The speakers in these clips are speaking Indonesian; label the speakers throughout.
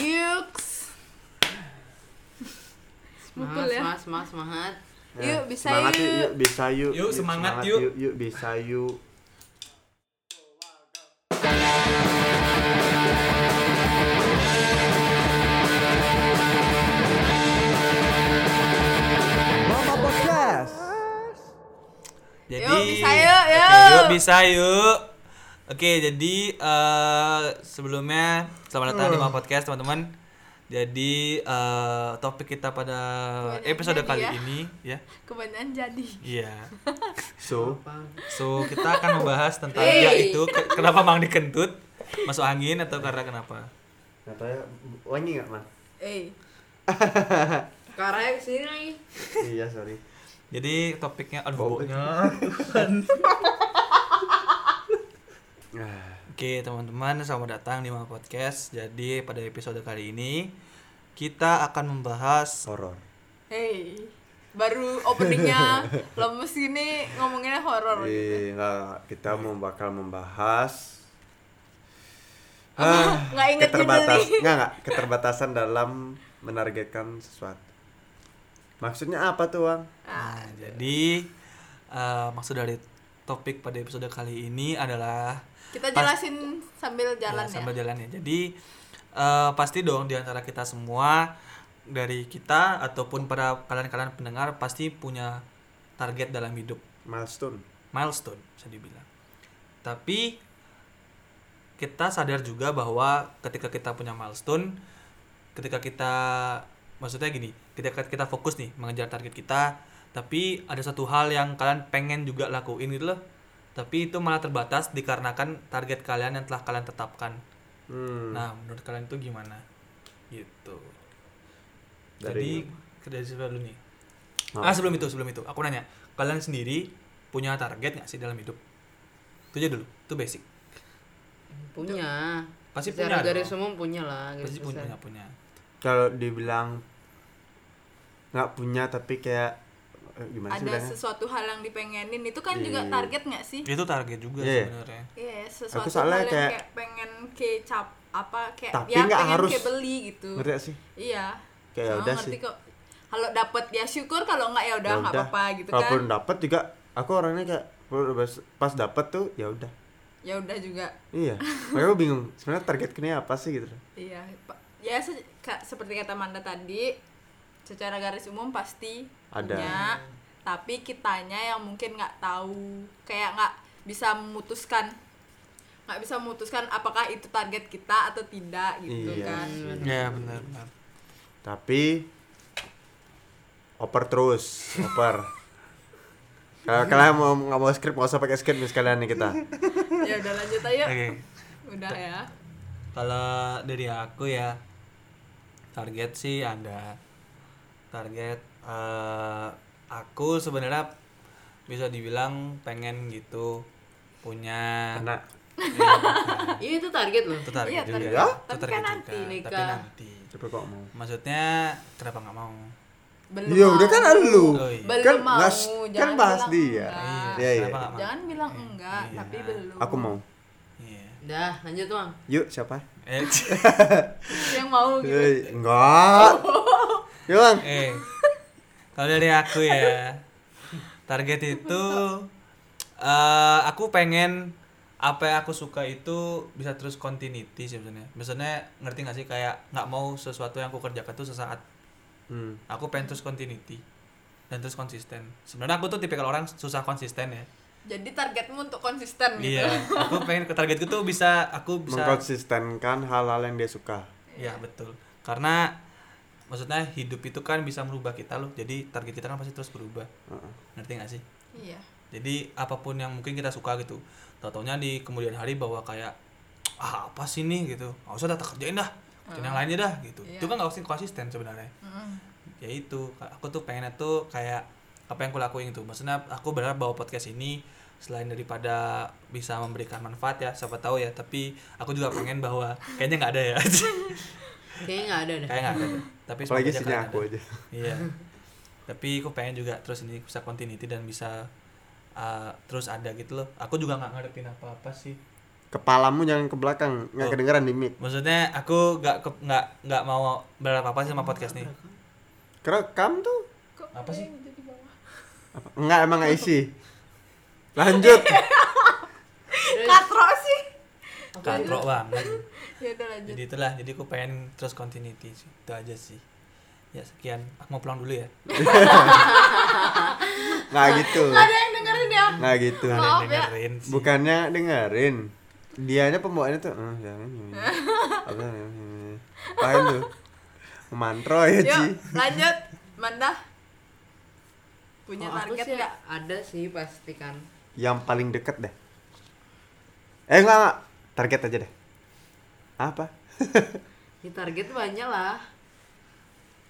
Speaker 1: Yuks. Mukul
Speaker 2: Semangat,
Speaker 1: ya.
Speaker 2: semangat, semangat, semangat.
Speaker 1: Yuk, bisa
Speaker 3: Ya, semangat
Speaker 1: yuk.
Speaker 3: yuk, bisa yuk.
Speaker 4: Yuk, semangat yuk.
Speaker 3: yuk. Yuk bisa yuk. Mama Podcast.
Speaker 4: Jadi
Speaker 1: Yuk, bisa yuk,
Speaker 4: Oke,
Speaker 1: yuk.
Speaker 4: yuk bisa yuk. Oke, jadi eh, sebelumnya selamat datang
Speaker 3: Hmm.
Speaker 4: di Mama Podcast teman-teman. Jadi eh, topik kita pada
Speaker 1: Kebanyakan
Speaker 4: episode
Speaker 1: jadi
Speaker 4: kali
Speaker 1: ya.
Speaker 4: ini ya.
Speaker 1: Kebanyakan jadi.
Speaker 4: Iya.
Speaker 3: So,
Speaker 4: So, kita akan membahas tentang
Speaker 1: Hey.
Speaker 4: yaitu ke- kenapa Mang dikentut, masuk angin atau karena kenapa?
Speaker 3: katanya wangi nggak man?
Speaker 1: Eh,
Speaker 2: Karanya kesini lagi.
Speaker 3: iya sorry.
Speaker 4: Jadi topiknya aduh
Speaker 3: Bau.
Speaker 4: baunya.
Speaker 3: Ah,
Speaker 4: Oke teman-teman, selamat datang di Mama Podcast. Jadi pada episode kali ini kita akan membahas
Speaker 3: Horor.
Speaker 1: hey. Baru openingnya lemes gini ngomonginnya horor. gitu.
Speaker 3: Iya, nggak, kita mau bakal membahas
Speaker 1: Apa?
Speaker 3: Ah,
Speaker 1: Nggak inget
Speaker 3: keterbatas,
Speaker 1: judul nih.
Speaker 3: nggak, nggak, keterbatasan dalam menargetkan sesuatu. Maksudnya apa tuh, Wang?
Speaker 4: Nah, jadi eh, maksud dari topik pada episode kali ini adalah
Speaker 1: Kita jelasin sambil jalan
Speaker 3: Iya,
Speaker 1: ya.
Speaker 4: ya, sambil jalan ya. Jadi eh, pasti dong di antara kita semua dari kita ataupun para kalian-kalian pendengar pasti punya target dalam hidup,
Speaker 3: Milestone.
Speaker 4: milestone bisa dibilang. Tapi kita sadar juga bahwa ketika kita punya milestone, ketika kita maksudnya gini, ketika kita fokus nih mengejar target kita, tapi ada satu hal yang kalian pengen juga lakuin gitu loh. Tapi itu malah terbatas dikarenakan target kalian yang telah kalian tetapkan.
Speaker 3: Hmm,
Speaker 4: Nah, menurut kalian itu gimana? Gitu.
Speaker 3: Dari-
Speaker 4: Jadi kerja siapa dulu nih? Ah,
Speaker 3: Apa?
Speaker 4: sebelum itu, sebelum itu, aku nanya, kalian sendiri punya target nggak sih dalam hidup? Itu aja dulu, itu basic.
Speaker 2: Punya.
Speaker 4: Pasti
Speaker 2: Secara
Speaker 4: punya
Speaker 2: garis
Speaker 4: dong.
Speaker 2: umum punya lah. gitu, garis
Speaker 4: Pasti punya,
Speaker 2: besar.
Speaker 4: punya, punya.
Speaker 3: Kalau dibilang nggak punya tapi kayak eh, gimana sih
Speaker 1: Ada
Speaker 3: bilangnya?
Speaker 1: sesuatu hal yang dipengenin itu kan juga
Speaker 3: Iya.
Speaker 1: target nggak sih?
Speaker 4: Itu target juga
Speaker 3: Iya.
Speaker 4: sebenarnya.
Speaker 1: Iya, sesuatu
Speaker 3: Aku soalnya
Speaker 1: hal yang kayak,
Speaker 3: kayak-
Speaker 1: pengen kecap apa kayak
Speaker 3: Tapi
Speaker 1: ya
Speaker 3: nggak
Speaker 1: pengen
Speaker 3: harus.
Speaker 1: kayak beli gitu.
Speaker 3: Ngerti nggak sih?
Speaker 1: Iya.
Speaker 3: Kayak
Speaker 1: Oh,
Speaker 3: udah
Speaker 1: ngerti
Speaker 3: sih.
Speaker 1: kok. Kalau dapat ya syukur kalau nggak ya udah
Speaker 3: Ya
Speaker 1: nggak apa-apa gitu
Speaker 3: Kalaupun
Speaker 1: kan.
Speaker 3: dapat juga, aku orangnya kayak pas- pas dapat tuh ya udah.
Speaker 1: Ya udah juga.
Speaker 3: Iya. Makanya aku bingung. Sebenarnya targetku ini apa sih gitu?
Speaker 1: Iya, Pak. ya se- ka- seperti kata Manda tadi, secara garis umum pasti
Speaker 3: Ada.
Speaker 1: punya, tapi kitanya yang mungkin nggak tahu, kayak nggak bisa memutuskan, nggak bisa memutuskan apakah itu target kita atau tidak gitu
Speaker 3: Iya
Speaker 1: kan.
Speaker 3: sih.
Speaker 4: Iya, benar, benar.
Speaker 3: tapi oper terus oper kalau kalian mau nggak mau script nggak usah pakai script nih sekalian nih kita
Speaker 1: ya udah lanjut aja,
Speaker 4: Oke.
Speaker 1: udah ya.
Speaker 4: Kalau dari aku ya target sih ada target eh, aku sebenarnya bisa dibilang pengen gitu punya
Speaker 3: anak
Speaker 4: Iya,
Speaker 2: Iya itu target loh.
Speaker 4: itu target
Speaker 1: Iya,
Speaker 4: juga
Speaker 1: target.
Speaker 4: Itu
Speaker 1: Tapi
Speaker 4: target
Speaker 1: kan nanti
Speaker 4: juga.
Speaker 2: nikah.
Speaker 4: tapi nanti
Speaker 3: coba kok mau
Speaker 4: maksudnya kenapa nggak mau
Speaker 1: Belum
Speaker 3: ya udah
Speaker 1: mau.
Speaker 3: kan lu
Speaker 4: Oh, iya.
Speaker 1: Belum
Speaker 3: kan
Speaker 1: mau,
Speaker 3: ngas- kan
Speaker 1: jangan
Speaker 3: bahas
Speaker 1: bilang
Speaker 3: dia
Speaker 1: enggak.
Speaker 3: iya iya
Speaker 4: Kenapa nggak mau?
Speaker 1: Ah. Jangan bilang
Speaker 4: Iya.
Speaker 1: enggak,
Speaker 4: Iya.
Speaker 1: tapi belum.
Speaker 3: aku mau
Speaker 4: Iya.
Speaker 2: Dah, Ah, lanjut bang.
Speaker 3: yuk siapa
Speaker 4: eh,
Speaker 1: Yang mau gitu.
Speaker 3: Eh, enggak yuk bang
Speaker 4: eh. kalau dari aku ya target itu eh aku pengen apa yang aku suka itu bisa terus continuity sih sebenarnya misalnya ngerti nggak sih kayak nggak mau sesuatu yang aku kerjakan tuh sesaat
Speaker 3: hmm.
Speaker 4: aku pengen terus continuity dan terus konsisten sebenarnya aku tuh tipikal orang susah konsisten ya
Speaker 1: Jadi targetmu untuk konsisten gitu.
Speaker 4: Iya, aku pengen ke targetku tuh bisa aku bisa
Speaker 3: mengkonsistenkan hal-hal yang dia suka
Speaker 4: ya betul. Karena maksudnya hidup itu kan bisa merubah kita loh. Jadi target kita kan pasti terus berubah.
Speaker 3: Heeh.
Speaker 4: Ngerti gak sih?
Speaker 1: Iya.
Speaker 4: Jadi apapun yang mungkin kita suka gitu. Tau-taunya di kemudian hari bahwa kayak ah apa sih nih gitu. Gak usah dah tak kerjain dah. Kerjain yang lainnya dah gitu.
Speaker 1: Iya.
Speaker 4: Itu kan gak konsisten sebenarnya.
Speaker 1: Mm-mm.
Speaker 4: ya itu Kak. aku tuh pengennya tuh kayak apa yang aku lakuin itu maksudnya aku berharap bahwa podcast ini selain daripada bisa memberikan manfaat ya siapa tahu ya tapi aku juga pengen bahwa kayaknya nggak ada ya
Speaker 2: Kayaknya nggak ada
Speaker 1: Eh.
Speaker 2: dah.
Speaker 4: kayak nggak ada tapi
Speaker 3: apalagi
Speaker 4: semoga aja
Speaker 3: sini
Speaker 4: kalian
Speaker 3: aku
Speaker 4: ada.
Speaker 3: aja
Speaker 4: iya tapi aku pengen juga terus ini bisa ah, continuity dan bisa uh, terus ada gitu loh aku juga nggak ngertiin apa apa sih
Speaker 3: Kepalamu jangan ke belakang, nggak
Speaker 4: Oh.
Speaker 3: kedengeran di mic.
Speaker 4: Maksudnya aku nggak ke- nggak nggak mau berapa apa sama podcast nih.
Speaker 3: Kerekam tuh.
Speaker 1: Kok
Speaker 4: Apa sih?
Speaker 1: ada yang jadi bawah?
Speaker 3: Apa? Enggak emang nggak isi. Lanjut.
Speaker 1: Katro sih.
Speaker 4: Katrok banget.
Speaker 1: Ya udah lanjut.
Speaker 4: Jadi itulah, jadi aku pengen terus continuity sih. Itu aja sih. Ya sekian, aku mau pulang dulu ya.
Speaker 3: Nggak gitu.
Speaker 1: Nggak ada yang dengerin ya.
Speaker 3: Nggak gitu.
Speaker 4: Nggak ada yang
Speaker 1: Maaf ya.
Speaker 4: dengerin sih.
Speaker 3: Bukannya dengerin. Dianya pembawaannya tuh, eh, jangan. jangan. Apa jangan. Pahin tuh. Mantro ya, Ci.
Speaker 1: Yuk, lanjut. Manda. Punya
Speaker 2: Kalau aku
Speaker 1: target
Speaker 2: sih
Speaker 1: nggak?
Speaker 2: Ada sih pasti kan.
Speaker 3: Yang paling deket deh. Eh, enggak, enggak. Target aja deh. Apa?
Speaker 2: Ya, target banyak lah.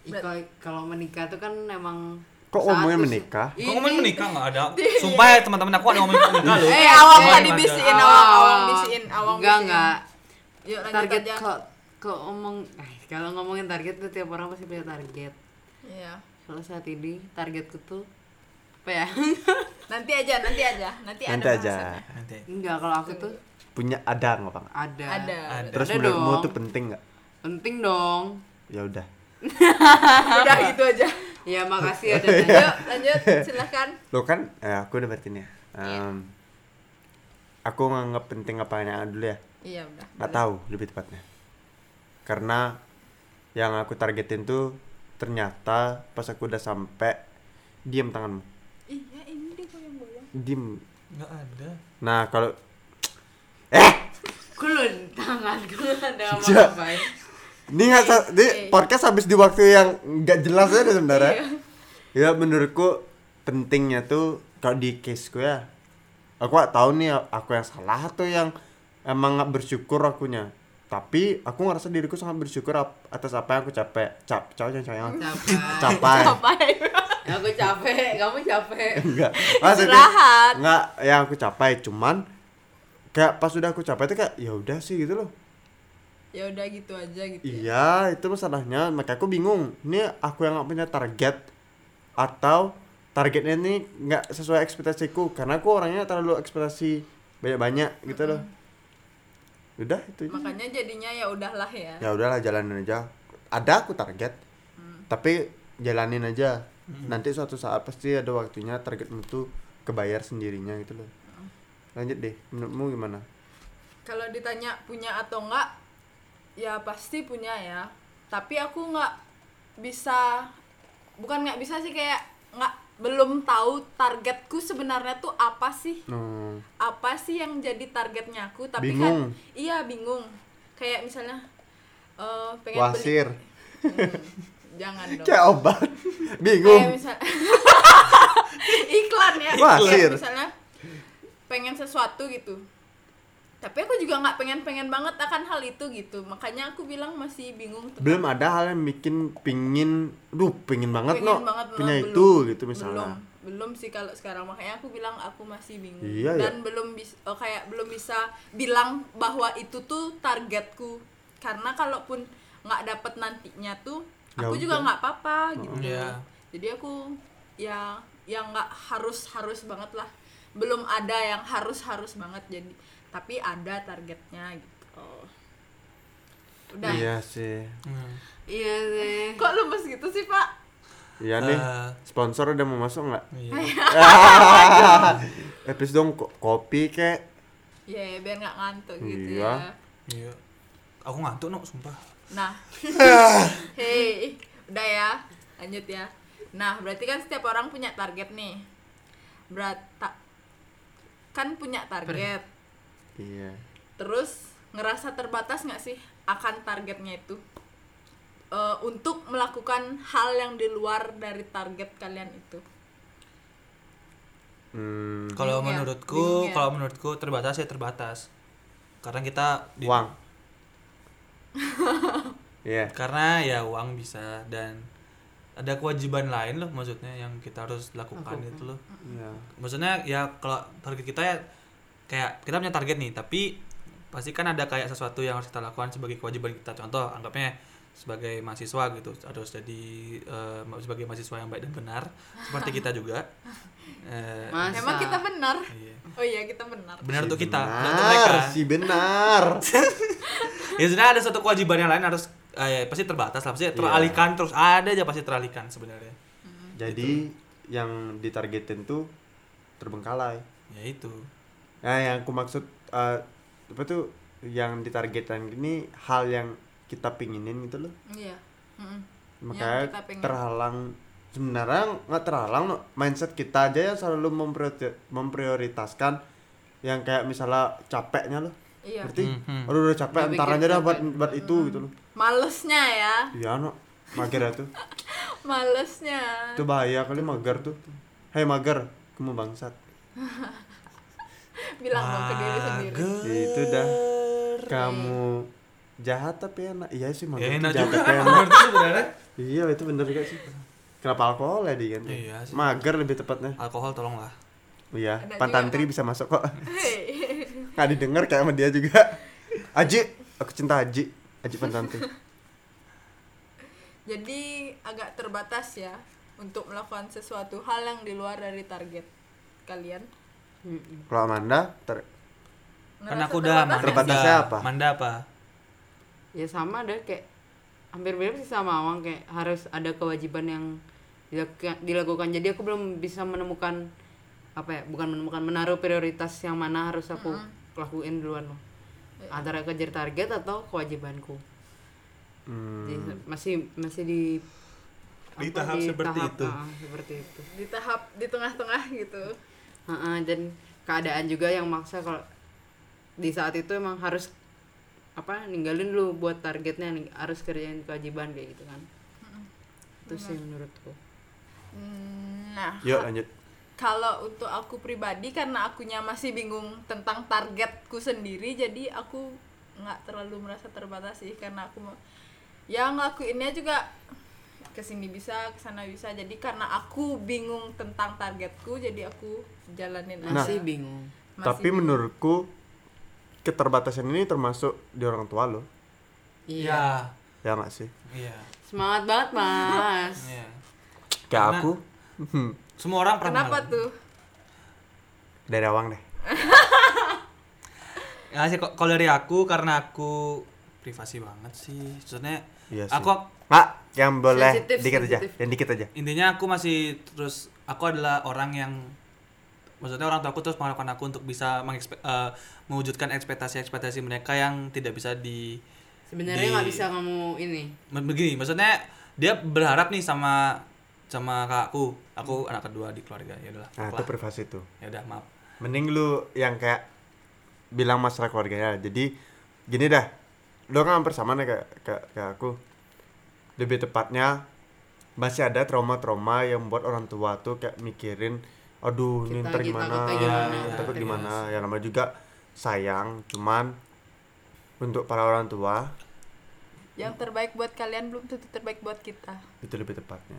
Speaker 2: Ih,
Speaker 1: Ber-
Speaker 2: kalau- Kalau menikah tuh kan emang
Speaker 3: Kok
Speaker 2: Iya, saat
Speaker 3: ngomongnya
Speaker 2: usia-
Speaker 3: menikah?
Speaker 4: Kok ngomongin menikah nggak ada?
Speaker 1: Di-
Speaker 4: Sumpah ya teman-teman aku ada ngomongin menikah loh.
Speaker 1: Eh, Oh. awang
Speaker 4: Sumpah
Speaker 1: nggak
Speaker 4: emang ada.
Speaker 1: dibisiin, awang, awang bisiin, awang
Speaker 2: enggak,
Speaker 1: bisiin.
Speaker 2: enggak.
Speaker 1: Yuk lanjut
Speaker 2: Target
Speaker 1: aja.
Speaker 2: kok kok omong eh, kalau ngomongin target tuh tiap orang pasti punya target.
Speaker 1: Iya.
Speaker 2: Kalau saat ini targetku tuh apa ya?
Speaker 1: Nanti aja, nanti aja. Nanti,
Speaker 3: Nanti
Speaker 1: Ya, ada
Speaker 3: aja.
Speaker 1: bahasannya.
Speaker 4: Nanti.
Speaker 2: enggak, kalau aku tuh
Speaker 3: Punya ada nggak, Bang?
Speaker 2: ada.
Speaker 1: Ada.
Speaker 4: Ada.
Speaker 3: Terus
Speaker 2: Ada
Speaker 3: menurutmu
Speaker 2: dong.
Speaker 3: tuh penting nggak?
Speaker 2: Penting dong.
Speaker 3: Ya udah.
Speaker 4: Iya,
Speaker 1: Udah gitu aja.
Speaker 2: Ya makasih ada.
Speaker 3: Iya.
Speaker 2: Nanya.
Speaker 1: Yuk, lanjut. Silahkan.
Speaker 3: Lo kan, eh, aku udah berarti ya. Em, Aku nganggap penting apa yang dulu ya.
Speaker 1: Iya, udah.
Speaker 3: nggak tahu lebih tepatnya karena yang aku targetin tuh ternyata pas aku udah sampai diem tanganmu
Speaker 1: Iya, ini dia kok yang bolong.
Speaker 3: diem
Speaker 4: Nggak ada.
Speaker 3: nah kalau eh
Speaker 2: Kulun tangan kulun ada apa
Speaker 3: Ja.
Speaker 2: apa ya?
Speaker 3: ini nggak sa- ini
Speaker 1: Eh.
Speaker 3: podcast habis di waktu yang nggak jelas aja sebenarnya ya menurutku pentingnya tuh kalau di case gue ya aku nggak tahu nih aku yang salah atau yang emang nggak bersyukur akunya tapi aku ngerasa diriku sangat bersyukur ap- atas apa yang aku capek cap cap cap cap
Speaker 2: Capek.
Speaker 3: capai
Speaker 1: Ngapain?
Speaker 2: Aku capek, kamu capek.
Speaker 3: enggak maksudnya
Speaker 1: Istirahat.
Speaker 3: enggak yang aku capai cuman kayak pas udah aku capai itu kayak ya udah sih gitu loh
Speaker 1: Ya udah gitu aja gitu. ya.
Speaker 3: iya itu masalahnya makanya aku bingung ini aku yang nggak punya target atau targetnya ini nggak sesuai ekspektasiku karena aku orangnya terlalu ekspektasi banyak banyak gitu loh udah itu aja.
Speaker 1: Makanya jadinya ya udahlah ya.
Speaker 3: ya udahlah jalanin aja ada aku target
Speaker 1: Hmm.
Speaker 3: tapi jalanin aja nanti suatu saat pasti ada waktunya targetmu tuh kebayar sendirinya gitu loh
Speaker 1: Hmm.
Speaker 3: lanjut deh menurutmu gimana
Speaker 1: kalau ditanya punya atau enggak ya pasti punya ya tapi aku nggak bisa bukan nggak bisa sih kayak nggak belum tahu targetku sebenarnya tuh apa sih
Speaker 3: Hmm.
Speaker 1: apa sih yang jadi targetnya aku tapi
Speaker 3: Bingung.
Speaker 1: kan iya bingung kayak misalnya eh, pengen
Speaker 3: wasir
Speaker 1: beli Hmm, jangan dong
Speaker 3: kayak obat
Speaker 1: kayak
Speaker 3: bingung
Speaker 1: misalnya iklan ya
Speaker 3: Wah,
Speaker 1: Kayak
Speaker 3: sir.
Speaker 1: misalnya pengen sesuatu gitu tapi aku juga nggak pengen pengen banget akan hal itu gitu makanya aku bilang masih bingung tentang-
Speaker 3: belum ada hal yang bikin pingin duh pingin banget
Speaker 1: pengen
Speaker 3: no
Speaker 1: banget no,
Speaker 3: punya
Speaker 1: belum.
Speaker 3: itu gitu misalnya
Speaker 1: belum belum sih kalau sekarang makanya aku bilang aku masih bingung
Speaker 3: Iya, ya.
Speaker 1: dan belum bisa kayak belum bisa bilang bahwa itu tuh targetku karena kalaupun nggak dapet nantinya tuh
Speaker 3: Ya
Speaker 1: aku juga
Speaker 3: udah. Oh,
Speaker 1: nggak apa-apa gitu
Speaker 4: Iya.
Speaker 1: jadi aku ya yang nggak harus harus banget lah belum ada yang harus harus banget jadi tapi ada targetnya gitu udah
Speaker 3: iya sih
Speaker 4: Hmm.
Speaker 2: Iya sih.
Speaker 1: kok lemes gitu sih pak
Speaker 3: iya nih
Speaker 4: Eh.
Speaker 3: sponsor udah mau masuk nggak
Speaker 4: Iya.
Speaker 3: eh please dong ko- kopi kek
Speaker 1: ya biar nggak ngantuk gitu
Speaker 3: Iya.
Speaker 1: ya
Speaker 4: Iya. Aku ngantuk no, sumpah.
Speaker 1: Nah, hei, udah ya, lanjut ya. Nah, berarti kan setiap orang punya target nih. Berat ta- kan punya target.
Speaker 3: iya
Speaker 1: Terus ngerasa terbatas nggak sih akan targetnya itu? Eh, untuk melakukan hal yang di luar dari target kalian itu.
Speaker 3: hmm,
Speaker 4: Kalau
Speaker 1: Bingung ya?
Speaker 4: menurutku,
Speaker 1: Bingung ya?
Speaker 4: kalau menurutku terbatas ya terbatas. Karena kita di-
Speaker 3: uang iya
Speaker 4: Karena ya uang bisa dan ada kewajiban lain loh maksudnya yang kita harus lakukan itu loh.
Speaker 3: Iya.
Speaker 4: Maksudnya ya kalau target kita ya kayak kita punya target nih, tapi pasti kan ada kayak sesuatu yang harus kita lakukan sebagai kewajiban kita. Contoh anggapnya sebagai mahasiswa gitu harus jadi eh, sebagai mahasiswa yang baik dan benar seperti kita juga Eh,
Speaker 2: Mas. Masa?
Speaker 1: Memang kita benar.
Speaker 4: iya.
Speaker 1: Oh iya, kita benar.
Speaker 4: benar untuk kita benar untuk
Speaker 3: benar,
Speaker 4: mereka
Speaker 3: si benar
Speaker 4: ya sebenarnya ada satu kewajiban yang lain harus eh, pasti terbatas lah
Speaker 3: Iya.
Speaker 4: pasti teralihkan terus ada aja pasti teralihkan sebenarnya
Speaker 3: jadi yang ditargetin tuh terbengkalai
Speaker 4: ya itu
Speaker 3: nah yang aku maksud eh, apa tuh yang ditargetin ini hal yang kita pinginin gitu loh
Speaker 1: Iya. Mm-mm.
Speaker 3: makanya
Speaker 1: kita pengen.
Speaker 3: terhalang sebenarnya nggak terhalang no. mindset kita aja yang selalu mempriori- memprioritaskan yang kayak misalnya capeknya loh
Speaker 1: Iya.
Speaker 3: berarti
Speaker 4: Mhm.
Speaker 3: aduh udah capek
Speaker 2: Nggak
Speaker 3: ntar
Speaker 2: bikin
Speaker 3: aja dah buat
Speaker 2: capek.
Speaker 3: buat itu gitu loh
Speaker 1: Malesnya ya.
Speaker 3: iya no mager tuh
Speaker 1: Malesnya.
Speaker 3: itu bahaya kali mager tuh hei mager kamu bangsat
Speaker 1: Bilang dong ke diri sendiri.
Speaker 3: itu Gitu dah kamu jahat tapi enak iya sih mager
Speaker 4: ya,
Speaker 3: tuh
Speaker 4: enak
Speaker 3: jahat
Speaker 4: juga
Speaker 3: tapi enak
Speaker 4: benar tuh sebenarnya
Speaker 3: iya itu bener gak sih kenapa alkohol ya di kan
Speaker 4: Iya sih.
Speaker 3: mager lebih tepatnya
Speaker 4: alkohol tolonglah
Speaker 3: iya
Speaker 1: Ada
Speaker 3: pantantri
Speaker 1: juga,
Speaker 3: bisa masuk kok
Speaker 1: Hei.
Speaker 3: nggak didengar kayak sama dia juga Aji aku cinta Aji Aji pantantri
Speaker 1: Jadi agak terbatas ya untuk melakukan sesuatu hal yang di luar dari target kalian.
Speaker 3: kalau Amanda ter
Speaker 4: kan
Speaker 1: Ngerasa
Speaker 4: aku udah
Speaker 1: terbatas
Speaker 4: manda
Speaker 1: nggak?
Speaker 3: Terbatasnya
Speaker 4: udah.
Speaker 3: apa?
Speaker 4: manda apa
Speaker 2: ya sama deh kayak hampir mirip sih sama Awang kayak harus ada kewajiban yang dilakukan, dilakukan. jadi aku belum bisa menemukan apa ya bukan menemukan menaruh prioritas yang mana harus aku lakuin duluan loh antara kejar target atau kewajibanku
Speaker 3: hmm,
Speaker 2: Jadi masih masih di
Speaker 4: Di tahap seperti itu.
Speaker 2: ah, seperti itu
Speaker 1: Di tahap di tengah-tengah gitu.
Speaker 2: Heeh, dan keadaan juga yang maksa kalau di saat itu emang harus apa ninggalin dulu buat targetnya nih, harus kerjain kewajiban kayak gitu kan itu sih menurutku
Speaker 1: Hmm, Nah,
Speaker 3: yuk lanjut
Speaker 1: kalau untuk aku pribadi karena akunya masih bingung tentang targetku sendiri jadi aku nggak terlalu merasa terbatas sih karena aku mau ya ngelakuinnya juga kesini bisa kesana bisa jadi karena aku bingung tentang targetku jadi aku jalanin aja
Speaker 3: Nah.
Speaker 2: masih bingung
Speaker 1: Masih
Speaker 3: tapi menurutku keterbatasan ini termasuk di orang tua lo
Speaker 4: iya
Speaker 3: ya nggak sih
Speaker 4: iya
Speaker 2: semangat banget mas
Speaker 4: iya Karena-
Speaker 3: kayak aku Hmm,
Speaker 4: semua orang pernah
Speaker 1: kenapa
Speaker 4: ngalamin.
Speaker 1: tuh
Speaker 3: dari awang deh
Speaker 4: Ya sih, kok- kalau dari aku karena aku privasi banget sih. Maksudnya
Speaker 3: Iya sih.
Speaker 4: aku
Speaker 3: Mak, yang boleh
Speaker 2: Sensitif,
Speaker 3: dikit
Speaker 2: sensitif.
Speaker 3: aja, yang dikit aja.
Speaker 4: intinya aku masih terus aku adalah orang yang maksudnya orang tua aku terus mengharapkan aku untuk bisa mengekspe- eh, mewujudkan ekspektasi-ekspektasi mereka yang tidak bisa di
Speaker 2: sebenarnya
Speaker 4: Di-
Speaker 2: nggak bisa kamu ini
Speaker 4: Ma- begini maksudnya dia berharap nih sama sama kakakku aku anak kedua di keluarga ya udahlah
Speaker 3: Nah, itu
Speaker 4: fuck lah.
Speaker 3: privasi tuh.
Speaker 4: ya udah maaf
Speaker 3: Mending lu yang kayak bilang masalah keluarganya. Jadi gini dah. Lu kan hampir sama nih kayak kayak, kayak aku. Lebih tepatnya masih ada trauma-trauma yang buat orang tua tuh kayak mikirin aduh ini
Speaker 2: Kita-
Speaker 3: ntar
Speaker 2: kita
Speaker 3: gimana,
Speaker 2: takut kayak
Speaker 4: gimana,
Speaker 3: takut
Speaker 4: iya.
Speaker 3: gimana. Ya namanya juga sayang, cuman untuk para orang tua
Speaker 1: yang terbaik buat kalian belum tentu terbaik buat kita
Speaker 3: itu lebih tepatnya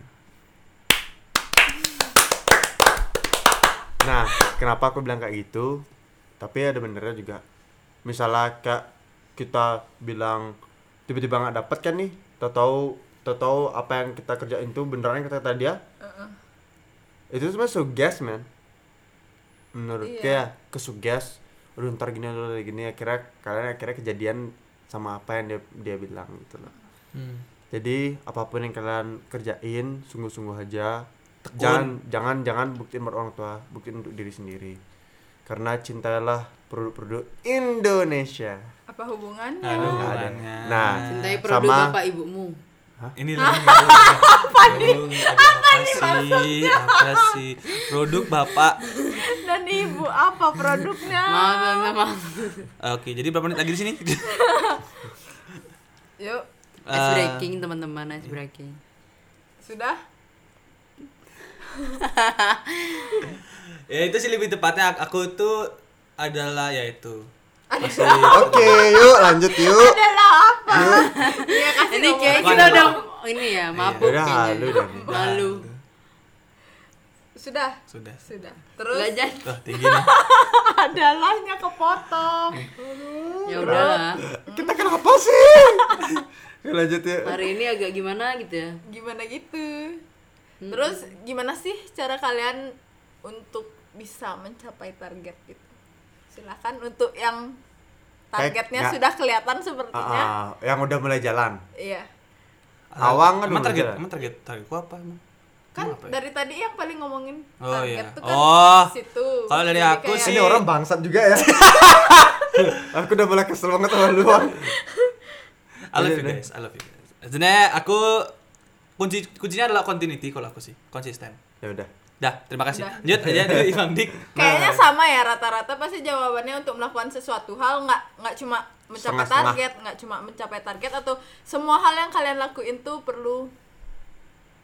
Speaker 3: nah kenapa aku bilang kayak gitu tapi ada benernya juga misalnya kayak kita bilang tiba-tiba nggak dapet kan nih tahu tahu apa yang kita kerjain tuh beneran yang kata kata dia itu sebenarnya suges man menurut
Speaker 1: Iya.
Speaker 3: kayak kesuges aduh ntar gini aduh ntar gini akhirnya kalian akhirnya kejadian sama apa yang dia dia bilang gitu loh
Speaker 4: Hmm.
Speaker 3: jadi apapun yang kalian kerjain sungguh-sungguh aja.
Speaker 4: Tekun.
Speaker 3: Jangan jangan jangan buktiin buat orang tua, buktiin untuk diri sendiri. Karena cintailah produk-produk Indonesia.
Speaker 1: apa hubungannya
Speaker 4: Ada
Speaker 3: ada.
Speaker 4: hubungannya.
Speaker 3: Nah,
Speaker 2: cintai produk
Speaker 3: sama-
Speaker 2: bapak ibumu
Speaker 4: ini loh Ah, apa nih apa sih apa sih produk bapak
Speaker 1: dan ibu apa produknya
Speaker 2: maaf tante maaf
Speaker 4: oke jadi berapa menit lagi di sini
Speaker 1: yuk
Speaker 2: ice breaking teman-teman ice breaking
Speaker 1: sudah
Speaker 4: ya itu sih lebih tepatnya ak- aku tuh adalah ya itu masih
Speaker 3: Oke, yuk lanjut yuk.
Speaker 1: adalah apa ya kasih
Speaker 2: ini kayak
Speaker 4: Bukan,
Speaker 2: kita
Speaker 4: bukan.
Speaker 2: udah ini ya
Speaker 3: Iya,
Speaker 2: mabuk
Speaker 3: Udah
Speaker 2: kayaknya.
Speaker 3: halu dah.
Speaker 2: malu
Speaker 1: sudah
Speaker 4: sudah
Speaker 1: sudah terus
Speaker 2: belajar
Speaker 4: Wah, tinggi nih
Speaker 1: adalahnya kepotong
Speaker 2: ya udah lah
Speaker 3: Kita kan kenapa sih? Lanjut ya.
Speaker 2: hari ini agak gimana gitu ya
Speaker 1: gimana gitu terus gimana sih cara kalian untuk bisa mencapai target gitu silakan untuk yang
Speaker 3: Kayak
Speaker 1: targetnya
Speaker 3: nggak-
Speaker 1: sudah kelihatan sepertinya
Speaker 3: Ah, ah, yang udah mulai jalan.
Speaker 1: iya
Speaker 3: Awang kan
Speaker 4: emang
Speaker 3: udah
Speaker 4: target,
Speaker 3: jalan.
Speaker 4: emang target targetku apa emang?
Speaker 1: kan
Speaker 4: Emang apa ya?
Speaker 1: dari tadi yang paling ngomongin
Speaker 4: Oh,
Speaker 1: target
Speaker 4: iya.
Speaker 1: tuh kan
Speaker 4: Oh.
Speaker 1: situ
Speaker 4: Kalau dari
Speaker 1: Jadi
Speaker 4: aku
Speaker 1: kayak-
Speaker 4: sih-
Speaker 3: Ini orang bangsat juga ya. Aku udah mulai kesel banget sama lu. Wang.
Speaker 4: I love you guys, I love you guys. Sebenarnya aku kunci kuncinya adalah continuity kalau aku sih, konsisten.
Speaker 3: Ya udah.
Speaker 4: Dah, terima kasih.
Speaker 1: Dah.
Speaker 4: Lanjut aja dari Bang Dik.
Speaker 1: kayaknya
Speaker 4: Nah.
Speaker 1: sama ya rata-rata pasti jawabannya untuk melakukan sesuatu hal nggak nggak cuma mencapai
Speaker 3: Setengah-setengah.
Speaker 1: target nggak cuma mencapai target atau semua hal yang kalian lakuin tuh perlu